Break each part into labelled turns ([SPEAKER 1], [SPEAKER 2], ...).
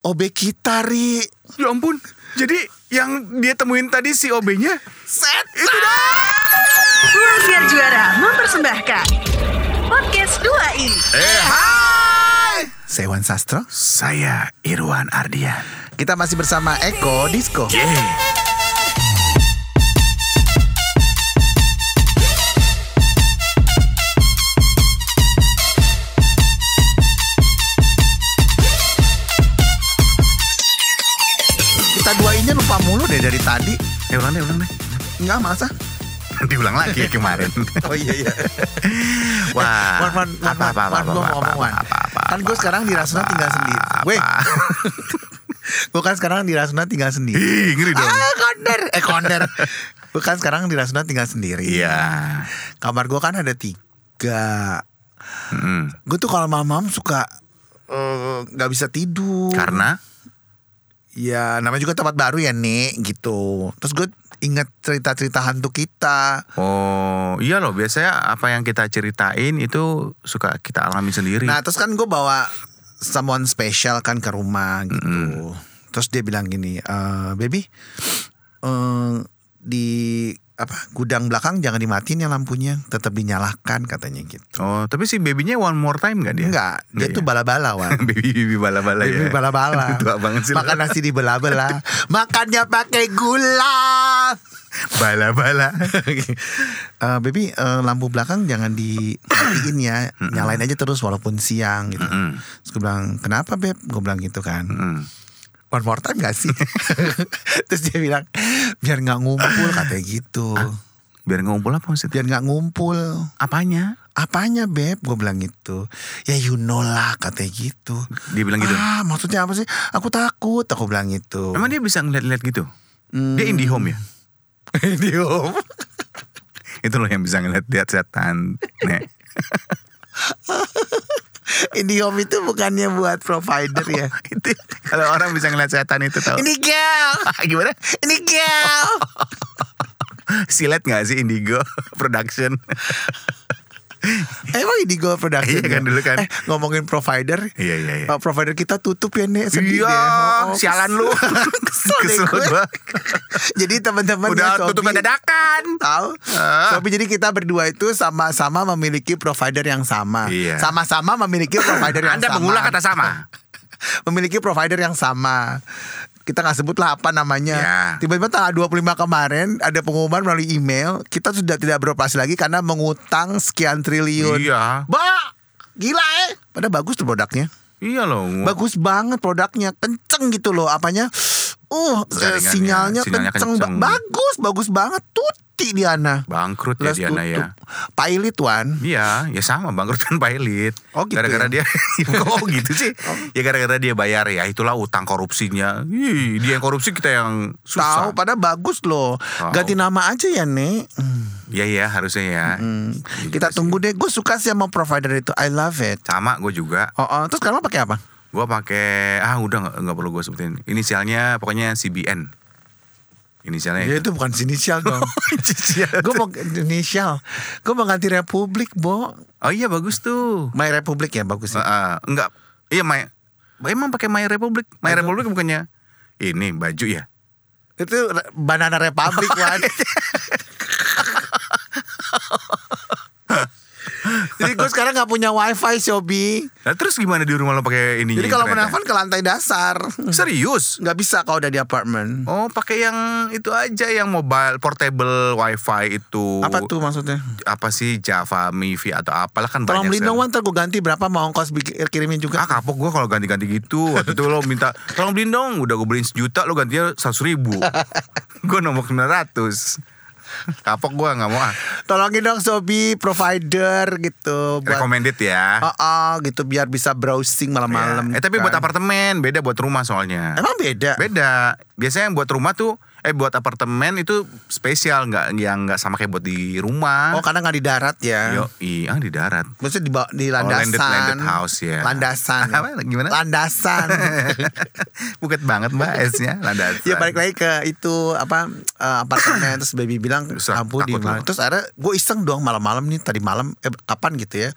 [SPEAKER 1] OB kita, Ri.
[SPEAKER 2] Ya ampun. Jadi yang dia temuin tadi si OB-nya
[SPEAKER 1] Set.
[SPEAKER 2] itu dah.
[SPEAKER 3] Wasiar Juara mempersembahkan Podcast 2i
[SPEAKER 1] Sewan Sastro.
[SPEAKER 2] Saya Irwan Ardian.
[SPEAKER 1] Kita masih bersama Eko Disco.
[SPEAKER 2] Eh,
[SPEAKER 1] Kita dua ini lupa mulu deh dari tadi.
[SPEAKER 2] Eh ulang deh, ulang deh.
[SPEAKER 1] Enggak, masa?
[SPEAKER 2] Nanti ulang lagi ya kemarin.
[SPEAKER 1] Oh iya iya.
[SPEAKER 2] Wah.
[SPEAKER 1] Wan, Wan, Wan,
[SPEAKER 2] Ah, apa, apa, apa,
[SPEAKER 1] Wan,
[SPEAKER 2] apa,
[SPEAKER 1] gue
[SPEAKER 2] apa,
[SPEAKER 1] mau ngomong,
[SPEAKER 2] apa,
[SPEAKER 1] Wan.
[SPEAKER 2] apa, apa,
[SPEAKER 1] Kan gue
[SPEAKER 2] apa,
[SPEAKER 1] sekarang di Rasuna tinggal sendiri.
[SPEAKER 2] apa.
[SPEAKER 1] Weh. Gue kan sekarang di Rasuna tinggal sendiri.
[SPEAKER 2] Ih, ngeri Iya dong.
[SPEAKER 1] Ah, konder. Eh, konder. Gue kan sekarang di Rasuna tinggal sendiri.
[SPEAKER 2] Iya.
[SPEAKER 1] Kamar gue kan ada tiga.
[SPEAKER 2] Mm.
[SPEAKER 1] Gue tuh kalau malam-malam suka eh, nggak bisa tidur.
[SPEAKER 2] Karena
[SPEAKER 1] Ya namanya juga tempat baru ya nih gitu. Terus gue inget cerita-cerita hantu kita.
[SPEAKER 2] Oh iya loh biasanya apa yang kita ceritain itu suka kita alami sendiri.
[SPEAKER 1] Nah terus kan gue bawa someone special kan ke rumah gitu. Terus dia bilang gini, "Eh, baby, eh, di apa gudang belakang jangan dimatiin ya lampunya, tetap dinyalakan katanya gitu.
[SPEAKER 2] oh tapi si babynya one more time nggak dia?
[SPEAKER 1] Enggak, dia
[SPEAKER 2] Nggak
[SPEAKER 1] tuh
[SPEAKER 2] ya?
[SPEAKER 1] bala-bala wan.
[SPEAKER 2] baby baby bala-bala ya.
[SPEAKER 1] Baby bala-bala.
[SPEAKER 2] Tua banget sih. lo.
[SPEAKER 1] Makan nasi dibela-bela. Makannya pakai gula.
[SPEAKER 2] bala-bala.
[SPEAKER 1] Eh, baby eh, lampu belakang jangan dimatiin ya nyalain aja terus walaupun siang gitu terus gue bilang kenapa beb gue bilang gitu kan
[SPEAKER 2] Mm.
[SPEAKER 1] one more time gak sih terus dia bilang biar nggak ngumpul katanya gitu
[SPEAKER 2] Ah. Biar ngumpul apa maksudnya?
[SPEAKER 1] biar nggak ngumpul
[SPEAKER 2] Apanya?
[SPEAKER 1] apanya beb gue bilang gitu ya you know lah katanya gitu
[SPEAKER 2] Dia bilang gitu.
[SPEAKER 1] ah maksudnya apa sih aku takut aku bilang gitu
[SPEAKER 2] Emang dia bisa ngeliat-liat gitu? Dia
[SPEAKER 1] Hmm.
[SPEAKER 2] indie home ya?
[SPEAKER 1] di om
[SPEAKER 2] Itu loh yang bisa ngeliat-liat setan. Nek.
[SPEAKER 1] Indiom itu bukannya buat provider ya
[SPEAKER 2] itu kalau orang bisa ngeliat setan itu tau.
[SPEAKER 1] ini gal
[SPEAKER 2] gimana?
[SPEAKER 1] ini gal
[SPEAKER 2] Silet gak sih Indigo Production?
[SPEAKER 1] Emang Indigo Production
[SPEAKER 2] Iya
[SPEAKER 1] ya?
[SPEAKER 2] kan, dulu kan.
[SPEAKER 1] eh, Ngomongin provider
[SPEAKER 2] Iya, iya, iya.
[SPEAKER 1] Uh, Provider kita tutup ya Nek Sedih
[SPEAKER 2] Iya,
[SPEAKER 1] deh. Oh,
[SPEAKER 2] sialan lu.
[SPEAKER 1] Kesel, deh
[SPEAKER 2] Kesel
[SPEAKER 1] gue.
[SPEAKER 2] gua.
[SPEAKER 1] Jadi teman-teman
[SPEAKER 2] Udah
[SPEAKER 1] ya, Sobi,
[SPEAKER 2] tutupan dadakan.
[SPEAKER 1] Tahu
[SPEAKER 2] Ah.
[SPEAKER 1] Sobi, jadi kita berdua itu sama-sama memiliki provider yang sama
[SPEAKER 2] Iya.
[SPEAKER 1] Sama-sama memiliki provider yang
[SPEAKER 2] Anda
[SPEAKER 1] sama
[SPEAKER 2] mengulang kata sama.
[SPEAKER 1] Memiliki provider yang sama kita nggak sebutlah apa namanya.
[SPEAKER 2] Ya.
[SPEAKER 1] Tiba-tiba tanggal 25 kemarin ada pengumuman melalui email kita sudah tidak beroperasi lagi karena mengutang sekian triliun.
[SPEAKER 2] Iya.
[SPEAKER 1] Ba, gila eh. Padahal bagus tuh produknya.
[SPEAKER 2] Iya loh.
[SPEAKER 1] Bagus banget produknya, kenceng gitu loh apanya. Uh, eh,
[SPEAKER 2] Jaringannya,
[SPEAKER 1] sinyalnya,
[SPEAKER 2] ya, sinyalnya
[SPEAKER 1] kenceng. Ba-
[SPEAKER 2] kenceng.
[SPEAKER 1] Bagus, bagus banget. Tuti Diana.
[SPEAKER 2] Bangkrut ya
[SPEAKER 1] Les
[SPEAKER 2] Diana ya.
[SPEAKER 1] tutup. Pailit Wan.
[SPEAKER 2] Iya, ya sama bangkrut kan pailit.
[SPEAKER 1] Oh, gitu
[SPEAKER 2] Gara-gara
[SPEAKER 1] ya?
[SPEAKER 2] dia, oh gitu sih. Ya gara-gara dia bayar ya, itulah utang korupsinya. Ih, dia yang korupsi kita yang susah.
[SPEAKER 1] Tahu pada bagus loh.
[SPEAKER 2] Tahu.
[SPEAKER 1] Ganti nama aja ya, Nek. Hmm,
[SPEAKER 2] Iya iya harusnya ya. Gitu
[SPEAKER 1] Kita
[SPEAKER 2] sih.
[SPEAKER 1] tunggu deh. Gue suka sih sama provider itu. I love it.
[SPEAKER 2] Sama gue juga.
[SPEAKER 1] Oh, oh. terus sekarang lo pakai apa?
[SPEAKER 2] Gue pakai ah udah nggak nggak perlu gue sebutin. Inisialnya pokoknya CBN. Inisialnya.
[SPEAKER 1] Ya itu bukan inisial dong. gue mau inisial. Gue mau ganti Republik, Bo.
[SPEAKER 2] Oh iya bagus tuh.
[SPEAKER 1] My Republik ya bagus.
[SPEAKER 2] Eh, eh, enggak. Iya my emang pakai My Republic. My Republic bukannya ini baju ya.
[SPEAKER 1] Itu re- Banana Republic Wan Jadi gue sekarang gak punya wifi Sobi
[SPEAKER 2] Nah, terus gimana di rumah lo pakai ininya?
[SPEAKER 1] Jadi kalau mau
[SPEAKER 2] internet?
[SPEAKER 1] nelfon ke lantai dasar
[SPEAKER 2] serius.
[SPEAKER 1] Gak bisa kalau udah di apartemen
[SPEAKER 2] Oh, pakai yang itu aja yang mobile portable wifi itu.
[SPEAKER 1] Apa tuh maksudnya?
[SPEAKER 2] Apa sih Java Mivi atau apalah kan
[SPEAKER 1] Tolong
[SPEAKER 2] banyak.
[SPEAKER 1] beliin dong
[SPEAKER 2] sekarang.
[SPEAKER 1] Wan Ntar gue ganti berapa mau ongkos bikin, kirimin
[SPEAKER 2] Ah
[SPEAKER 1] juga
[SPEAKER 2] kapok gue kalau ganti-ganti gitu Waktu itu lo minta Tolong beliin dong Udah gue beliin sejuta Lo gantinya seratus ribu Gue nomor 900 Kapok gue gak mau ah
[SPEAKER 1] Tolongin dong Sobi provider gitu buat,
[SPEAKER 2] Recommended ya
[SPEAKER 1] Oh, oh, gitu biar bisa browsing malam-malam
[SPEAKER 2] Ya. Eh tapi
[SPEAKER 1] kan.
[SPEAKER 2] buat apartemen Beda buat rumah soalnya
[SPEAKER 1] Emang beda?
[SPEAKER 2] Beda Biasanya yang buat rumah tuh Eh buat apartemen itu spesial nggak yang nggak sama kayak buat di rumah.
[SPEAKER 1] Oh karena gak di darat ya
[SPEAKER 2] Yo, iya di darat.
[SPEAKER 1] Maksudnya di, ba- di
[SPEAKER 2] Oh,
[SPEAKER 1] landasan
[SPEAKER 2] landed- landed house, ya.
[SPEAKER 1] Landasan
[SPEAKER 2] Apa? Gimana?
[SPEAKER 1] Landasan
[SPEAKER 2] Buket banget mbak esnya Nah, landasan.
[SPEAKER 1] Ya balik lagi ke itu Apa eh, Apartemen Terus baby bilang
[SPEAKER 2] Terus
[SPEAKER 1] Ampun di
[SPEAKER 2] takut
[SPEAKER 1] mana
[SPEAKER 2] lu.
[SPEAKER 1] Terus akhirnya gue iseng dong malam-malam nih Tadi malam eh, Kapan gitu ya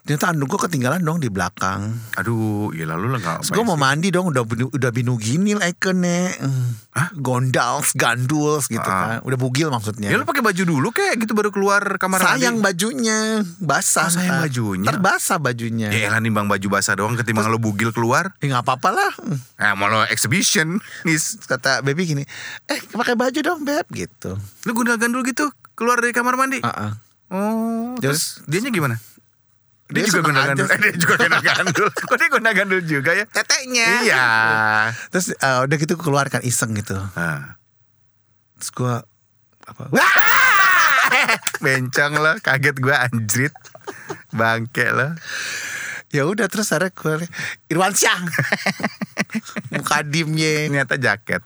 [SPEAKER 1] Ternyata anduk gue ketinggalan dong di belakang.
[SPEAKER 2] Aduh, ya lalu lah
[SPEAKER 1] Terus
[SPEAKER 2] nggak.
[SPEAKER 1] gue mau mandi dong udah binu- udah binu gini lah ekennya. Gondals, ganduls gitu kan.
[SPEAKER 2] Ah.
[SPEAKER 1] Udah bugil maksudnya.
[SPEAKER 2] Ya lu pakai baju dulu kayak gitu baru keluar kamar
[SPEAKER 1] sayang
[SPEAKER 2] mandi.
[SPEAKER 1] bajunya basah.
[SPEAKER 2] Oh, sayang
[SPEAKER 1] Ntar.
[SPEAKER 2] bajunya.
[SPEAKER 1] Ntar basah bajunya.
[SPEAKER 2] Ya elah nimbang baju basah doang ketimbang lu bugil keluar.
[SPEAKER 1] Ya nggak apa-apa lah.
[SPEAKER 2] Eh mau lo exhibition nis.
[SPEAKER 1] Terus Kata baby gini, eh pakai baju dong beb gitu.
[SPEAKER 2] Lu gundal gandul gitu keluar dari kamar mandi.
[SPEAKER 1] Ah, ah.
[SPEAKER 2] Oh, terus, dianya gimana? Dia,
[SPEAKER 1] Dia
[SPEAKER 2] juga
[SPEAKER 1] seneng
[SPEAKER 2] gundal
[SPEAKER 1] aja sih.
[SPEAKER 2] gandul. Eh, dia juga gundal gandul. Kok dia gundal gandul juga ya?
[SPEAKER 1] Teteknya.
[SPEAKER 2] Iya.
[SPEAKER 1] Terus eh, udah gitu gue keluarkan iseng gitu.
[SPEAKER 2] Ah.
[SPEAKER 1] Terus gue apa?
[SPEAKER 2] Bencong lo, kaget gua anjrit. Bangke lo.
[SPEAKER 1] Ya udah terus ada gue Irwan Syah. Mukadimnya.
[SPEAKER 2] Ternyata jaket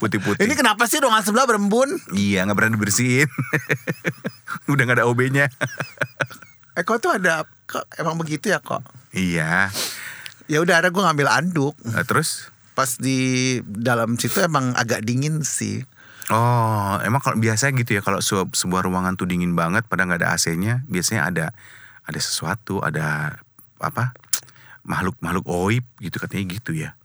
[SPEAKER 2] putih-putih.
[SPEAKER 1] Ini kan- kenapa sih ruangan sebelah berembun?
[SPEAKER 2] Iya, nggak berani bersihin. Udah nggak ada OB-nya.
[SPEAKER 1] Eh kok tuh ada kok emang begitu ya kok?
[SPEAKER 2] iya.
[SPEAKER 1] Ya udah ada gue ngambil anduk.
[SPEAKER 2] Nah, terus
[SPEAKER 1] Pas di dalam situ emang agak dingin sih.
[SPEAKER 2] Oh, emang kalau biasanya gitu ya kalau se- sebuah ruangan tuh dingin banget padahal nggak ada AC-nya, biasanya ada ada sesuatu, ada apa? makhluk-makhluk oib gitu katanya gitu ya.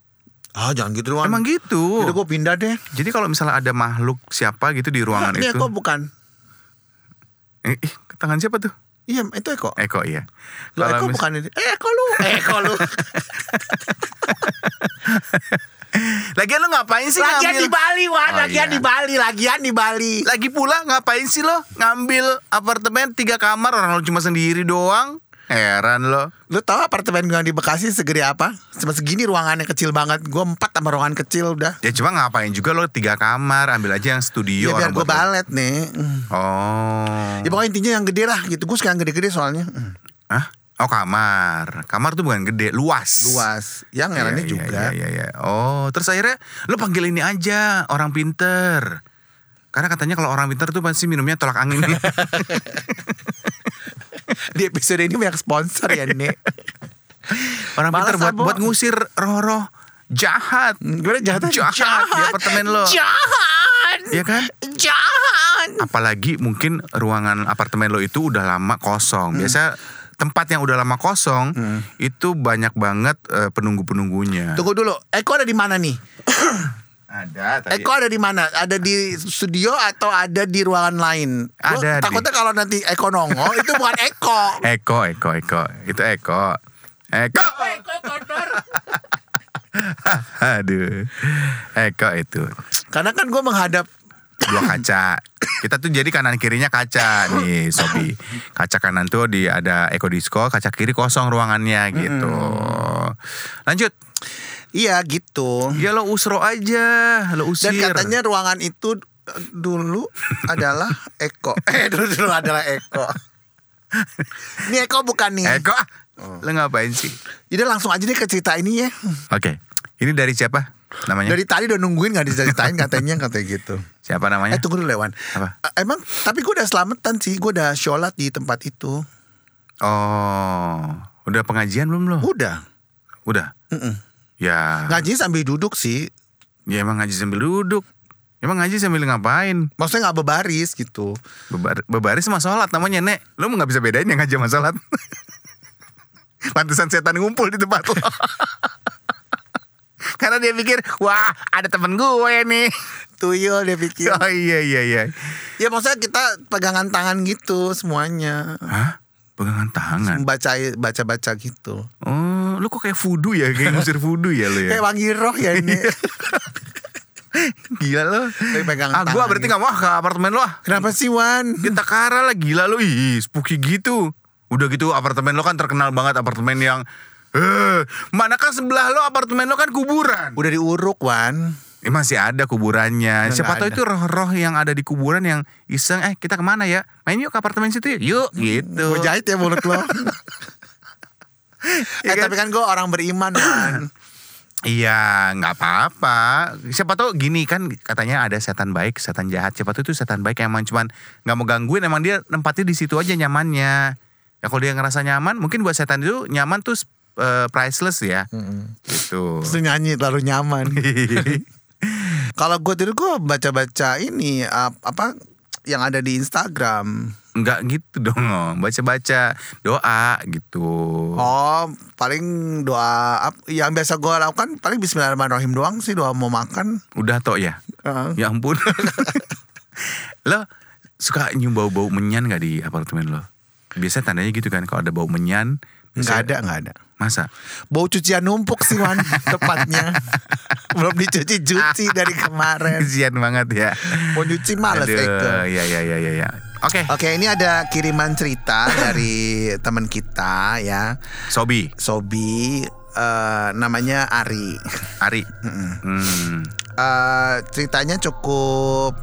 [SPEAKER 1] Ah jangan gitu doang.
[SPEAKER 2] Emang
[SPEAKER 1] Emang gitu.
[SPEAKER 2] gitu.
[SPEAKER 1] Udah gue pindah deh.
[SPEAKER 2] Jadi kalau misalnya ada makhluk siapa gitu di ruangan
[SPEAKER 1] Ini
[SPEAKER 2] itu.
[SPEAKER 1] Eko bukan.
[SPEAKER 2] Eh, ih, ke tangan siapa tuh?
[SPEAKER 1] Iya itu Eko.
[SPEAKER 2] Eko iya.
[SPEAKER 1] Lo Eko
[SPEAKER 2] mis-
[SPEAKER 1] bukan ini. Eh Eko lu. Eh, Eko lu.
[SPEAKER 2] Lagian lo ngapain sih
[SPEAKER 1] lagian di
[SPEAKER 2] ngambil?
[SPEAKER 1] Bali Wan.
[SPEAKER 2] Oh,
[SPEAKER 1] lagian
[SPEAKER 2] iya.
[SPEAKER 1] di Bali. Lagian di Bali.
[SPEAKER 2] Lagi pula ngapain sih lo ngambil apartemen tiga kamar orang lo cuma sendiri doang? Heran lo.
[SPEAKER 1] Lu tahu apartemen gue di Bekasi segede apa? Cuma segini ruangannya kecil banget. Gue empat sama ruangan kecil udah.
[SPEAKER 2] Ya cuma ngapain juga lo tiga kamar, ambil aja yang
[SPEAKER 1] Ya
[SPEAKER 2] studio
[SPEAKER 1] biar
[SPEAKER 2] orang
[SPEAKER 1] gue
[SPEAKER 2] buat lo.
[SPEAKER 1] balet nih. Hmm.
[SPEAKER 2] Oh.
[SPEAKER 1] Ya pokoknya intinya yang gede lah gitu. Gue suka yang gede-gede soalnya. Hmm.
[SPEAKER 2] Hah? Oh kamar. Kamar tuh bukan gede, luas.
[SPEAKER 1] Luas. Yang
[SPEAKER 2] Iya,
[SPEAKER 1] ngelannya
[SPEAKER 2] iya,
[SPEAKER 1] juga.
[SPEAKER 2] Iya, iya, iya. Oh, terus akhirnya lo panggil ini aja, orang pinter. Karena katanya kalau orang pinter tuh pasti minumnya tolak angin.
[SPEAKER 1] Di episode ini banyak sponsor ya nih.
[SPEAKER 2] orang
[SPEAKER 1] Malas,
[SPEAKER 2] pinter buat
[SPEAKER 1] Abo.
[SPEAKER 2] buat ngusir roh-roh jahat.
[SPEAKER 1] Gimana jahat?
[SPEAKER 2] Jahat, di apartemen lo.
[SPEAKER 1] Jahat.
[SPEAKER 2] Iya kan?
[SPEAKER 1] Jahat.
[SPEAKER 2] Apalagi mungkin ruangan apartemen lo itu udah lama kosong.
[SPEAKER 1] Hmm.
[SPEAKER 2] Biasa tempat yang udah lama kosong itu banyak banget eh, penunggu-penunggunya.
[SPEAKER 1] Tunggu dulu. Eko ada di mana nih?
[SPEAKER 2] Ada tadi.
[SPEAKER 1] Eko ada di mana? Ada di studio atau ada di ruangan lain? Gua
[SPEAKER 2] Ada di-
[SPEAKER 1] takutnya kalau nanti Eko nongol itu bukan Eko.
[SPEAKER 2] Eko, Eko, Eko. Itu Eko. Eko. Aduh. Eko itu.
[SPEAKER 1] Karena kan gue menghadap
[SPEAKER 2] Dua kaca. Kita tuh jadi kanan kirinya kaca nih, Sobi. Kaca kanan tuh di ada Eko Disco, kaca kiri kosong ruangannya gitu.
[SPEAKER 1] Hmm.
[SPEAKER 2] Lanjut.
[SPEAKER 1] Iya gitu.
[SPEAKER 2] Ya lo usro aja, lo usir.
[SPEAKER 1] Dan katanya ruangan itu eh, dulu adalah Eko. Eh dulu dulu adalah Eko. Ini Eko bukan nih.
[SPEAKER 2] Eko, ah. lo ngapain sih?
[SPEAKER 1] Jadi langsung aja deh ke cerita ini ya.
[SPEAKER 2] Oke. Ini dari siapa namanya?
[SPEAKER 1] Dari tadi udah nungguin gak diceritain katanya katanya gitu.
[SPEAKER 2] Siapa namanya?
[SPEAKER 1] Eh tunggu dulu Lewan.
[SPEAKER 2] Apa?
[SPEAKER 1] Eh, Emang tapi gue udah selametan sih. Gue udah sholat di tempat itu.
[SPEAKER 2] Oh, udah pengajian belum lo?
[SPEAKER 1] Udah.
[SPEAKER 2] Udah. Ya.
[SPEAKER 1] Ngaji sambil duduk sih.
[SPEAKER 2] Ya emang ngaji sambil duduk. Emang ngaji sambil ngapain?
[SPEAKER 1] Maksudnya nggak berbaris gitu.
[SPEAKER 2] Bebar, bebaris sama sholat namanya, Nek. Lo nggak bisa bedain yang ngaji sama sholat. Pantesan setan ngumpul di tempat lo. Karena dia pikir, wah ada temen gue nih.
[SPEAKER 1] Tuyul dia pikir.
[SPEAKER 2] Oh iya, iya, iya.
[SPEAKER 1] ya maksudnya kita pegangan tangan gitu semuanya.
[SPEAKER 2] Hah? Pegangan tangan?
[SPEAKER 1] Baca baca baca gitu.
[SPEAKER 2] Oh, lu kok kayak voodoo ya? Kayak ngusir voodoo ya lo ya?
[SPEAKER 1] Kayak wangi roh ya ini.
[SPEAKER 2] Gila lo.
[SPEAKER 1] Kayak pegangan
[SPEAKER 2] Ah, gue
[SPEAKER 1] tangan
[SPEAKER 2] berarti
[SPEAKER 1] gitu.
[SPEAKER 2] gak mau ah, ke apartemen lo ah.
[SPEAKER 1] Kenapa sih Wan?
[SPEAKER 2] Kita takara lah gila lu Ih spooky gitu Udah gitu apartemen lo kan terkenal banget Apartemen yang eh Mana kan sebelah lo apartemen lo kan kuburan
[SPEAKER 1] Udah diuruk Wan.
[SPEAKER 2] Eh, Masih ada kuburannya
[SPEAKER 1] Udah
[SPEAKER 2] Siapa
[SPEAKER 1] nggak
[SPEAKER 2] tahu
[SPEAKER 1] ada.
[SPEAKER 2] itu roh-roh yang ada di kuburan yang Iseng eh kita kemana ya Main yuk ke apartemen situ yuk Yuk gitu
[SPEAKER 1] Gue jahit ya mulut lo. eh
[SPEAKER 2] Iya kan?
[SPEAKER 1] tapi kan gue orang beriman Wan.
[SPEAKER 2] Iya nggak apa-apa Siapa tahu gini kan katanya ada setan baik Setan jahat Siapa tahu itu setan baik yang emang cuman nggak mau gangguin Emang dia nempatnya di situ aja nyamannya Ya kalau dia ngerasa nyaman Mungkin buat setan itu nyaman tuh eh, priceless ya Gitu
[SPEAKER 1] Terus nyanyi terlalu nyaman. Kalau gue tidur gue baca-baca ini ap- apa yang ada di Instagram.
[SPEAKER 2] Enggak gitu dong, Om. baca-baca doa gitu.
[SPEAKER 1] Oh, paling doa ap- yang biasa gue lakukan paling Bismillahirrahmanirrahim doang sih doa mau makan.
[SPEAKER 2] Udah toh ya?
[SPEAKER 1] Heeh.
[SPEAKER 2] Ya ampun. lo suka nyium bau-bau menyan gak di apartemen lo? Biasa tandanya gitu kan kalau ada bau menyan.
[SPEAKER 1] nggak
[SPEAKER 2] biasanya-
[SPEAKER 1] ada, nggak ada.
[SPEAKER 2] Masa?
[SPEAKER 1] Bau cucian numpuk sih Wan, tepatnya. Belum dicuci-cuci dari kemarin.
[SPEAKER 2] Kesian banget ya.
[SPEAKER 1] Mau nyuci males itu.
[SPEAKER 2] Aduh, ya ya ya ya ya. Oke,
[SPEAKER 1] Oke, ini ada kiriman cerita dari teman kita ya,
[SPEAKER 2] Sobi,
[SPEAKER 1] Sobi. eh, namanya Ari.
[SPEAKER 2] Ari. Hmm.
[SPEAKER 1] Eh, ceritanya cukup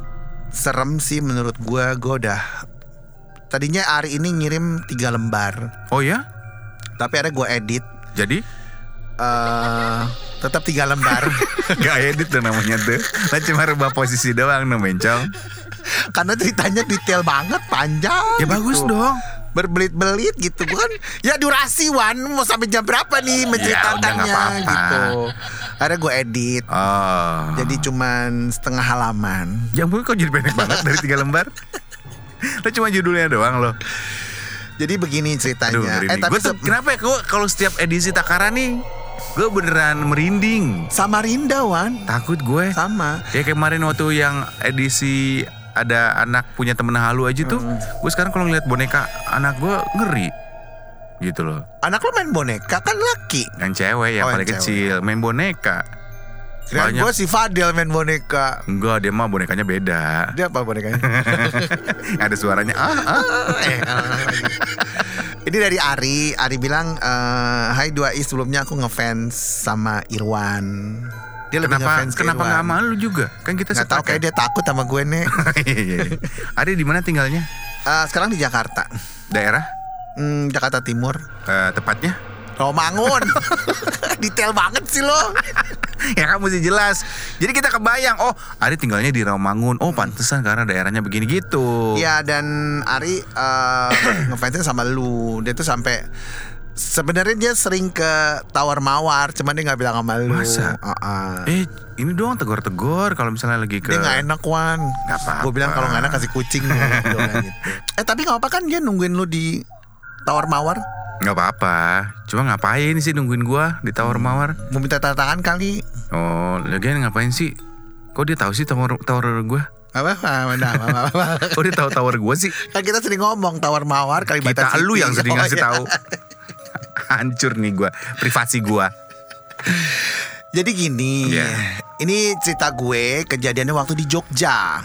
[SPEAKER 1] serem sih menurut gua. Gua udah tadinya Ari ini ngirim tiga lembar,
[SPEAKER 2] Oh ya?
[SPEAKER 1] tapi ada gua edit.
[SPEAKER 2] Jadi
[SPEAKER 1] eh tetap tiga lembar
[SPEAKER 2] Gak edit tuh namanya tuh. Lah cuma rubah posisi doang dong, Bencong.
[SPEAKER 1] karena ceritanya detail banget, panjang.
[SPEAKER 2] Ya bagus
[SPEAKER 1] gitu.
[SPEAKER 2] dong.
[SPEAKER 1] berbelit-belit gitu kan ya durasi Wan mau sampai jam berapa nih menceritakannya
[SPEAKER 2] udah Ya nggak apa-apa.
[SPEAKER 1] gitu akhirnya gue edit
[SPEAKER 2] Oh.
[SPEAKER 1] jadi cuman setengah halaman
[SPEAKER 2] Jambu Ya, kok jadi pendek banget dari tiga lembar? Lo cuma judulnya doang lo.
[SPEAKER 1] jadi begini
[SPEAKER 2] Aduh,
[SPEAKER 1] ceritanya eh
[SPEAKER 2] merinding.
[SPEAKER 1] tapi
[SPEAKER 2] Gua tuh,
[SPEAKER 1] se-
[SPEAKER 2] kenapa ya gue kalau setiap edisi Takara nih, gue beneran merinding.
[SPEAKER 1] Samarinda Wan
[SPEAKER 2] Takut gue.
[SPEAKER 1] sama
[SPEAKER 2] Ya kemarin waktu yang edisi ada anak punya temen halu aja tuh,
[SPEAKER 1] Hmm.
[SPEAKER 2] gue sekarang kalau ngeliat boneka anak gue ngeri gitu loh.
[SPEAKER 1] anak lo main boneka kan laki
[SPEAKER 2] Yang cewek yang
[SPEAKER 1] Oh, yang
[SPEAKER 2] paling
[SPEAKER 1] cewek. Ya,
[SPEAKER 2] kecil main boneka.
[SPEAKER 1] kira
[SPEAKER 2] Banyak.
[SPEAKER 1] gue si Fadil main boneka
[SPEAKER 2] Enggak, dia mah bonekanya beda.
[SPEAKER 1] dia apa bonekanya
[SPEAKER 2] ada suaranya. Ah, ah.
[SPEAKER 1] Eh, Ini dari Ari. Ari bilang, eh, Hai dua i sebelumnya aku ngefans sama Irwan. Dia lebih
[SPEAKER 2] Kenapa
[SPEAKER 1] ngefans ke
[SPEAKER 2] kenapa
[SPEAKER 1] Irwan.
[SPEAKER 2] nggak malu juga? Kan kita
[SPEAKER 1] Nggak tahu
[SPEAKER 2] setara
[SPEAKER 1] kayak dia takut sama gue nih.
[SPEAKER 2] iya. Ada di mana tinggalnya?
[SPEAKER 1] Eh, sekarang di Jakarta,
[SPEAKER 2] Daerah?
[SPEAKER 1] Hmm, Jakarta Timur.
[SPEAKER 2] Eh, tepatnya?
[SPEAKER 1] Romangun. Detail banget sih lo.
[SPEAKER 2] ya kan mesti jelas. Jadi kita kebayang, oh Ari tinggalnya di Rawamangun. Oh pantesan karena daerahnya begini gitu.
[SPEAKER 1] Ya dan Ari eh, ngefansnya sama lu. Dia tuh sampai sebenarnya dia sering ke tawar mawar, cuman dia nggak bilang sama lu.
[SPEAKER 2] Masa?
[SPEAKER 1] Heeh.
[SPEAKER 2] Eh ini doang tegor-tegor kalau misalnya lagi ke.
[SPEAKER 1] Dia nggak enak Wan
[SPEAKER 2] Nggak apa-apa.
[SPEAKER 1] Gue bilang kalau nggak enak kasih kucing Gua bilang gitu. Eh tapi nggak apa kan dia nungguin lu di Tawar Mawar
[SPEAKER 2] Nggak apa-apa. Cuma ngapain sih nungguin gua di Tawar
[SPEAKER 1] Hmm.
[SPEAKER 2] Mawar?
[SPEAKER 1] Mau minta tanda tangan kali
[SPEAKER 2] Oh lagian ngapain sih? Kok dia tahu sih tawar tawar gua?
[SPEAKER 1] apa apa mana apa apa, apa.
[SPEAKER 2] Kok dia tahu tawar gua sih?
[SPEAKER 1] kan kita sering ngomong tawar mawar Oh, kali
[SPEAKER 2] Kita lu yang sering ngasih
[SPEAKER 1] iya.
[SPEAKER 2] tahu. Hancur nih gua, privasi gua.
[SPEAKER 1] jadi gini
[SPEAKER 2] Iya.
[SPEAKER 1] ini cerita gue kejadiannya waktu di Jogja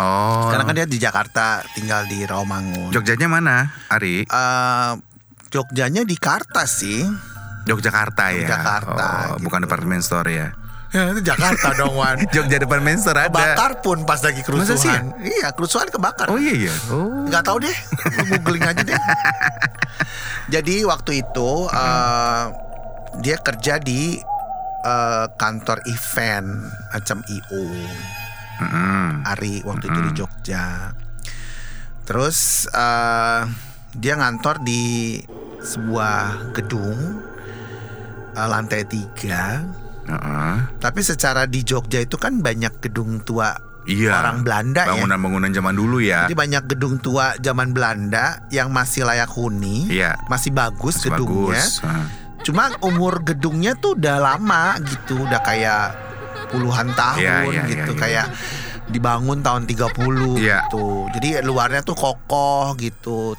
[SPEAKER 2] Oh.
[SPEAKER 1] karena kan dia di Jakarta tinggal di Rawamangun
[SPEAKER 2] Jogjanya mana, Ari?
[SPEAKER 1] Eh, Jogjanya di Kartas sih
[SPEAKER 2] Jogjakarta ya.
[SPEAKER 1] Jakarta,
[SPEAKER 2] Oh,
[SPEAKER 1] gitu.
[SPEAKER 2] bukan department store ya.
[SPEAKER 1] ya, itu Jakarta dong Wan
[SPEAKER 2] Jogja department store ada.
[SPEAKER 1] kebakar pun pas lagi kerusuhan
[SPEAKER 2] Masa sih ya?
[SPEAKER 1] iya kerusuhan kebakar
[SPEAKER 2] Oh iya iya. Oh.
[SPEAKER 1] nggak tahu deh lu googling aja deh jadi waktu itu eh, dia kerja di eh, kantor event macam io
[SPEAKER 2] Mm-mm.
[SPEAKER 1] Ari waktu itu di Jogja terus eh, dia ngantor di sebuah gedung eh, lantai tiga
[SPEAKER 2] Heeh.
[SPEAKER 1] tapi secara di Jogja itu kan banyak gedung tua
[SPEAKER 2] Iya.
[SPEAKER 1] orang Belanda ya
[SPEAKER 2] Bangunan-bangunan zaman dulu ya.
[SPEAKER 1] Jadi banyak gedung tua zaman Belanda yang masih layak huni,
[SPEAKER 2] Iya.
[SPEAKER 1] masih bagus
[SPEAKER 2] Masih
[SPEAKER 1] gedungnya.
[SPEAKER 2] Bagus. Ah. Heeh.
[SPEAKER 1] Cuma umur gedungnya tuh udah lama gitu, udah kayak puluhan tahun
[SPEAKER 2] Iya, iya,
[SPEAKER 1] gitu,
[SPEAKER 2] iya, iya.
[SPEAKER 1] kayak dibangun tahun 30
[SPEAKER 2] Iya.
[SPEAKER 1] gitu. Jadi luarnya tuh kokoh gitu,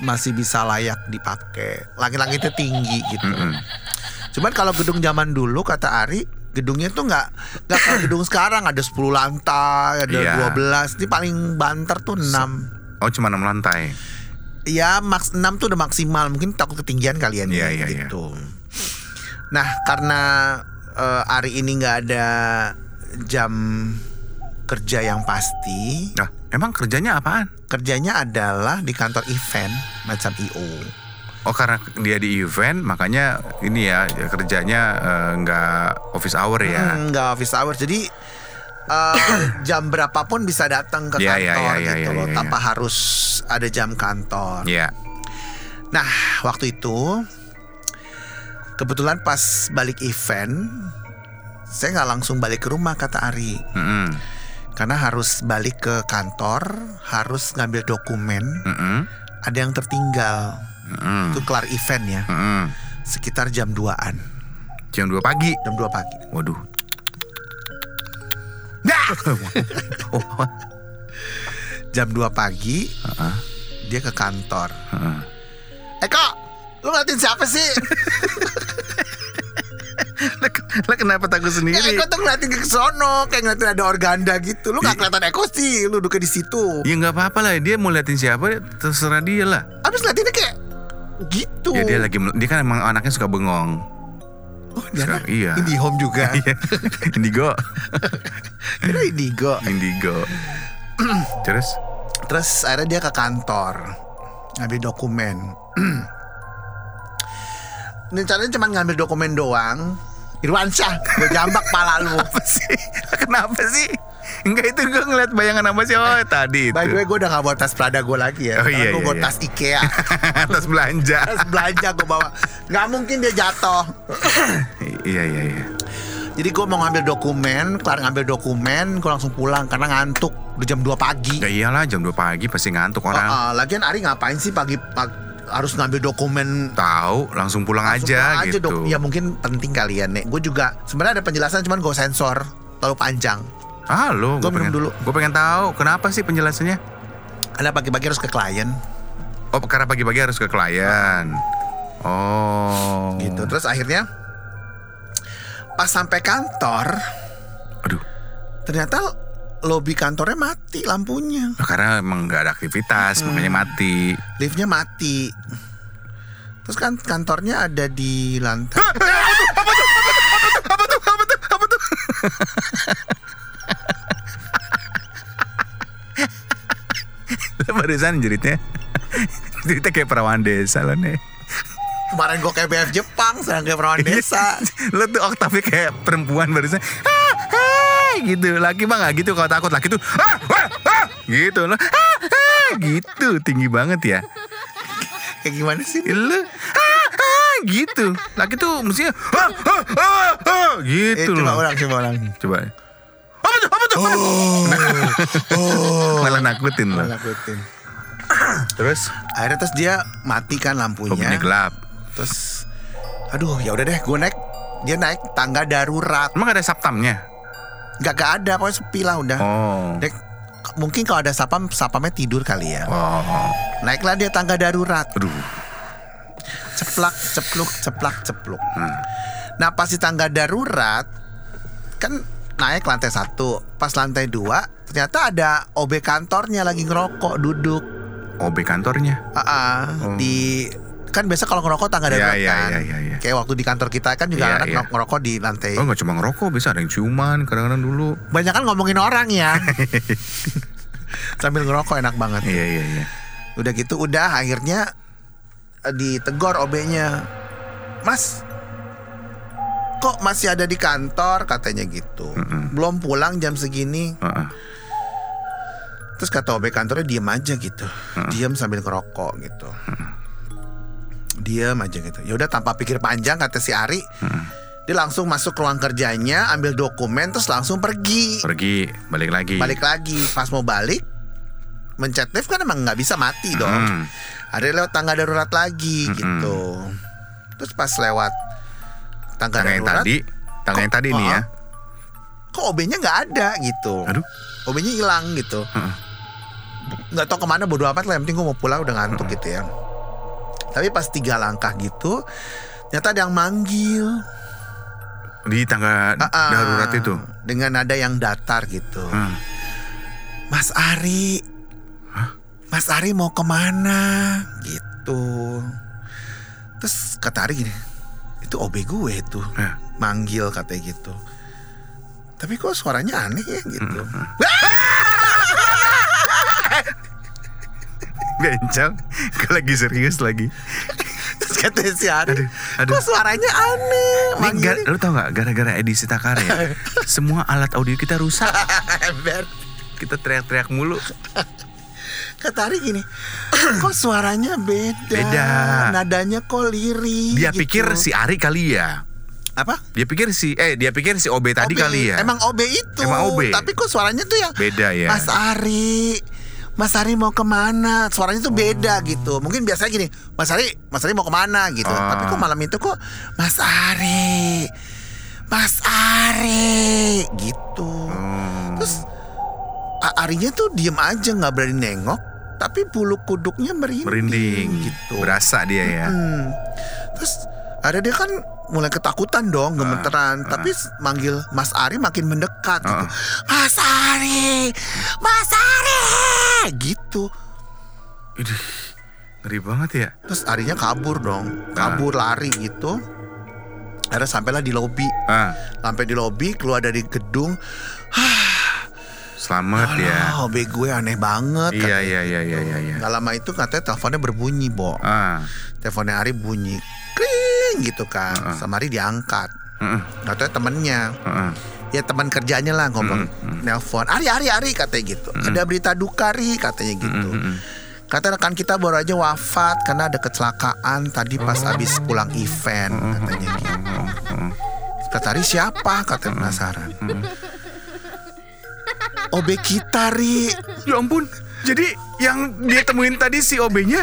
[SPEAKER 1] masih bisa layak dipakai. Langit-langitnya tinggi gitu.
[SPEAKER 2] Mm-mm.
[SPEAKER 1] Cuman kalau gedung zaman dulu kata Ari gedungnya tuh nggak nggak kayak gedung sekarang ada 10 lantai ada
[SPEAKER 2] Iya.
[SPEAKER 1] 12 ini paling banter tuh 6
[SPEAKER 2] Oh cuma enam lantai.
[SPEAKER 1] ya maks 6 tuh udah maksimal mungkin takut ketinggian kalian
[SPEAKER 2] Iya,
[SPEAKER 1] ya
[SPEAKER 2] iya, iya.
[SPEAKER 1] gitu nah karena eh, Ari ini nggak ada jam kerja yang pasti
[SPEAKER 2] Nah, emang kerjanya apaan?
[SPEAKER 1] kerjanya adalah di kantor event macam IO
[SPEAKER 2] Oh karena dia di event makanya ini ya ya kerjanya eh, nggak office hour ya.
[SPEAKER 1] Hmm, nggak office hours jadi eh, jam berapapun bisa datang ke
[SPEAKER 2] Iya,
[SPEAKER 1] kantor
[SPEAKER 2] iya, iya,
[SPEAKER 1] gitu
[SPEAKER 2] iya,
[SPEAKER 1] loh
[SPEAKER 2] iya,
[SPEAKER 1] tanpa harus ada jam kantor
[SPEAKER 2] Iya.
[SPEAKER 1] nah waktu itu kebetulan pas balik event saya nggak langsung balik ke rumah kata Ari
[SPEAKER 2] Mm-mm.
[SPEAKER 1] karena harus balik ke kantor, harus ngambil dokumen,
[SPEAKER 2] Mm-mm.
[SPEAKER 1] ada yang tertinggal.
[SPEAKER 2] Mm-mm.
[SPEAKER 1] Itu kelar event ya,
[SPEAKER 2] Mm-mm.
[SPEAKER 1] sekitar jam 2-an,
[SPEAKER 2] Jam 2 pagi.
[SPEAKER 1] jam 2 pagi.
[SPEAKER 2] Waduh. Dah.
[SPEAKER 1] Jam 2 pagi, dia ke kantor.
[SPEAKER 2] Heeh.
[SPEAKER 1] Eko, lu ngeliatin siapa sih?
[SPEAKER 2] Lah kenapa takut
[SPEAKER 1] Ya,
[SPEAKER 2] sendiri?
[SPEAKER 1] Eko tuh ngeliatin ke sono, kayak ngeliatin ada organda gitu. Lu gak kelihatan Eko sih, lu duduknya di situ.
[SPEAKER 2] Ya nggak apa-apa lah, dia mau liatin siapa terserah dia lah.
[SPEAKER 1] Abis ngeliatinnya kayak gitu.
[SPEAKER 2] Ya dia lagi mel- dia kan emang anaknya suka bengong.
[SPEAKER 1] Oh, dia
[SPEAKER 2] Suka-
[SPEAKER 1] anak
[SPEAKER 2] iya.
[SPEAKER 1] Indihome juga.
[SPEAKER 2] Indigo,
[SPEAKER 1] Kira Indigo.
[SPEAKER 2] indigo. Terus?
[SPEAKER 1] Terus akhirnya dia ke kantor ngambil dokumen. Rencananya cuma ngambil dokumen doang. Irwansyah, gue jambak pala lu.
[SPEAKER 2] Apa sih? Kenapa sih? Enggak itu gue ngeliat bayangan apa sih? Oh tadi itu.
[SPEAKER 1] By the way, gue udah gak bawa tas Prada gue lagi ya.
[SPEAKER 2] Oh, iya,
[SPEAKER 1] gue
[SPEAKER 2] iya,
[SPEAKER 1] bawa
[SPEAKER 2] iya.
[SPEAKER 1] tas Ikea.
[SPEAKER 2] atas belanja.
[SPEAKER 1] tas belanja gue bawa. Gak mungkin dia jatuh.
[SPEAKER 2] I- iya iya iya.
[SPEAKER 1] Jadi gue mau ngambil dokumen, kelar ngambil dokumen, gue langsung pulang karena ngantuk. Udah jam 2 pagi.
[SPEAKER 2] Ya iyalah jam 2 pagi pasti ngantuk
[SPEAKER 1] Ah,
[SPEAKER 2] orang.
[SPEAKER 1] ah, lagian Ari ngapain sih pagi, pagi harus ngambil dokumen
[SPEAKER 2] Tahu langsung pulang
[SPEAKER 1] Langsung
[SPEAKER 2] aja
[SPEAKER 1] pulang
[SPEAKER 2] gitu.
[SPEAKER 1] dok. Ya mungkin penting kali ya Nek Gue juga sebenarnya ada penjelasan cuman gue sensor Terlalu panjang
[SPEAKER 2] Ah lo,
[SPEAKER 1] Gua minum dulu.
[SPEAKER 2] Gue pengen tahu kenapa sih penjelasannya?
[SPEAKER 1] Karena pagi-pagi harus ke klien
[SPEAKER 2] Oh karena pagi-pagi harus ke klien. Oh.
[SPEAKER 1] gitu Terus akhirnya Pas sampai kantor
[SPEAKER 2] Aduh.
[SPEAKER 1] Ternyata lobi kantornya mati lampunya
[SPEAKER 2] Nah, karena emang nggak ada aktivitas makanya
[SPEAKER 1] Hmm.
[SPEAKER 2] mati.
[SPEAKER 1] Liftnya mati Terus kan kantornya ada di lantai
[SPEAKER 2] Barusan jeritnya Jeritnya kayak perawan desa lo nih
[SPEAKER 1] Kemarin gue kayak BF Jepang Sekarang kayak perawan
[SPEAKER 2] Iya.
[SPEAKER 1] desa
[SPEAKER 2] Lo tuh oktavnya kayak perempuan barusan ah, ah, gitu Laki mah gak gitu kalau takut Laki tuh ah, ah, ah, Gitu lo ah, ah, Gitu tinggi banget ya
[SPEAKER 1] Kayak gimana sih Nek?
[SPEAKER 2] Lo ah, ah, Gitu Laki tuh mestinya ah, ah, ah, ah,
[SPEAKER 1] Eh,
[SPEAKER 2] Gitu
[SPEAKER 1] coba
[SPEAKER 2] loh
[SPEAKER 1] ulang, coba ulang
[SPEAKER 2] Coba Apa tuh? Apa tuh? Apa tuh? Malah nakutin lo
[SPEAKER 1] Lakuin.
[SPEAKER 2] Terus
[SPEAKER 1] Akhirnya Oh. terus Iya. dia matikan lampunya
[SPEAKER 2] Lobinya Oh, gelap
[SPEAKER 1] terus aduh ya udah deh gue naik dia naik tangga darurat
[SPEAKER 2] Emang ada saptamnya?
[SPEAKER 1] nggak gak ada pokoknya sepi lah udah
[SPEAKER 2] Oh
[SPEAKER 1] Dia- mungkin kalau ada sapam sapamnya tidur kali ya
[SPEAKER 2] Oh
[SPEAKER 1] naiklah dia tangga darurat
[SPEAKER 2] Aduh
[SPEAKER 1] ceplak cepluk ceplak cepluk
[SPEAKER 2] Hmm.
[SPEAKER 1] nah pas di tangga darurat kan naik lantai satu pas lantai dua ternyata ada OB kantornya lagi ngerokok duduk
[SPEAKER 2] OB kantornya
[SPEAKER 1] Ah, ah, di kan biasa kalau ngerokok tangga
[SPEAKER 2] Hmm. Iya,
[SPEAKER 1] darurat
[SPEAKER 2] iya,
[SPEAKER 1] kan
[SPEAKER 2] iya, iya, iya.
[SPEAKER 1] kayak waktu di kantor kita kan juga
[SPEAKER 2] Iya,
[SPEAKER 1] anak
[SPEAKER 2] iya.
[SPEAKER 1] ngerokok di lantai
[SPEAKER 2] Oh nggak cuma ngerokok bisa ada yang ciuman kadang-kadang dulu.
[SPEAKER 1] banyak kan ngomongin orang ya sambil ngerokok enak banget
[SPEAKER 2] Iya iya iya.
[SPEAKER 1] udah gitu udah akhirnya eh, ditegor OB-nya Mas kok masih ada di kantor katanya gitu
[SPEAKER 2] Mm-mm.
[SPEAKER 1] belum pulang jam segini
[SPEAKER 2] Heeh.
[SPEAKER 1] terus kata OB kantornya diem aja gitu
[SPEAKER 2] Hmm.
[SPEAKER 1] diem sambil ngerokok gitu diem aja gitu ya udah tanpa pikir panjang kata si Ari
[SPEAKER 2] Hmm.
[SPEAKER 1] dia langsung masuk ruang kerjanya ambil dokumen terus langsung pergi
[SPEAKER 2] Pergi balik lagi.
[SPEAKER 1] balik lagi pas mau balik mencet lift kan emang nggak bisa mati dong
[SPEAKER 2] Mm.
[SPEAKER 1] ada lewat tangga darurat lagi
[SPEAKER 2] Hmm.
[SPEAKER 1] gitu terus pas lewat tangga,
[SPEAKER 2] Tangga yang
[SPEAKER 1] darurat Oh,
[SPEAKER 2] tadi, tangga yang tadi nih ya.
[SPEAKER 1] kok OB-nya nggak ada gitu
[SPEAKER 2] Aduh.
[SPEAKER 1] OB-nya hilang gitu nggak tahu kemana bodo amat lah yang penting gue mau pulang udah ngantuk gitu ya tapi pas tiga langkah gitu ternyata ada yang manggil
[SPEAKER 2] Di tangga
[SPEAKER 1] Ah, ah.
[SPEAKER 2] darurat itu.
[SPEAKER 1] dengan nada yang datar gitu
[SPEAKER 2] Hmm.
[SPEAKER 1] Mas Ari Mas Ari mau kemana gitu terus kata Ari gini itu OB gue tuh
[SPEAKER 2] Eh.
[SPEAKER 1] manggil katanya gitu tapi kok suaranya aneh ya gitu
[SPEAKER 2] Bencong. Gue lagi serius lagi.
[SPEAKER 1] terus katanya si Ari
[SPEAKER 2] Aduh, aduh.
[SPEAKER 1] kok suaranya aneh
[SPEAKER 2] Ini
[SPEAKER 1] manggil
[SPEAKER 2] gar- lu tau gak gara-gara edisi takar ya Semua alat audio kita rusak
[SPEAKER 1] ember
[SPEAKER 2] Kita teriak-teriak mulu
[SPEAKER 1] gitu. kata Ari gini kok suaranya beda
[SPEAKER 2] Beda.
[SPEAKER 1] nadanya kok lirih
[SPEAKER 2] Dia
[SPEAKER 1] gitu."
[SPEAKER 2] pikir si Ari kali ya
[SPEAKER 1] apa?
[SPEAKER 2] Dia pikir si eh dia pikir si OB
[SPEAKER 1] OB.
[SPEAKER 2] tadi kali ya.
[SPEAKER 1] Emang OB itu.
[SPEAKER 2] Emang OB.
[SPEAKER 1] Tapi kok suaranya tuh yang
[SPEAKER 2] Beda ya.
[SPEAKER 1] Mas Ari. Mas Ari mau kemana? Suaranya tuh beda
[SPEAKER 2] Oh.
[SPEAKER 1] gitu. Mungkin biasanya gini, Mas Ari, Mas Ari mau kemana gitu.
[SPEAKER 2] Ah.
[SPEAKER 1] Tapi kok malam itu kok Mas Ari, Mas Ari gitu.
[SPEAKER 2] Hmm.
[SPEAKER 1] Terus A- Arinya tuh diem aja nggak berani nengok, tapi bulu kuduknya merinding,
[SPEAKER 2] merinding
[SPEAKER 1] gitu.
[SPEAKER 2] Berasa dia ya.
[SPEAKER 1] Hmm. Terus ada dia kan mulai ketakutan dong, gemeteran. Tapi s- manggil Mas Ari makin mendekat gitu.
[SPEAKER 2] Ah.
[SPEAKER 1] Mas Ari, Mas Ari, gitu.
[SPEAKER 2] Idih, ngeri banget ya.
[SPEAKER 1] Terus Arinya kabur dong, kabur lari gitu. Ada sampailah di lobi,
[SPEAKER 2] Ah,
[SPEAKER 1] sampai di lobi keluar dari gedung.
[SPEAKER 2] selamat ya.
[SPEAKER 1] Oh, OB gue aneh banget. katanya.
[SPEAKER 2] Iya iya iya iya iya. iya.
[SPEAKER 1] Nggak lama itu katanya teleponnya berbunyi, Bo.
[SPEAKER 2] Ah,
[SPEAKER 1] Teleponnya Ari bunyi, kling gitu kan.
[SPEAKER 2] Ah.
[SPEAKER 1] Sama Ari diangkat.
[SPEAKER 2] heeh,
[SPEAKER 1] Katanya temennya.
[SPEAKER 2] heeh.
[SPEAKER 1] ya teman kerjanya lah ngomong nelpon Ari Ari Ari katanya gitu ada berita duka Ri katanya gitu
[SPEAKER 2] mm.
[SPEAKER 1] kata rekan kita baru aja wafat karena ada kecelakaan tadi pas habis pulang event katanya gitu. kata Ri siapa katanya penasaran OB kita Ri
[SPEAKER 2] Ya ampun. Jadi yang dia temuin tadi si OB-nya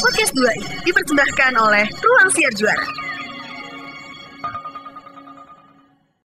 [SPEAKER 3] Podcast 2i dipersembahkan oleh Ruang Siar Juara.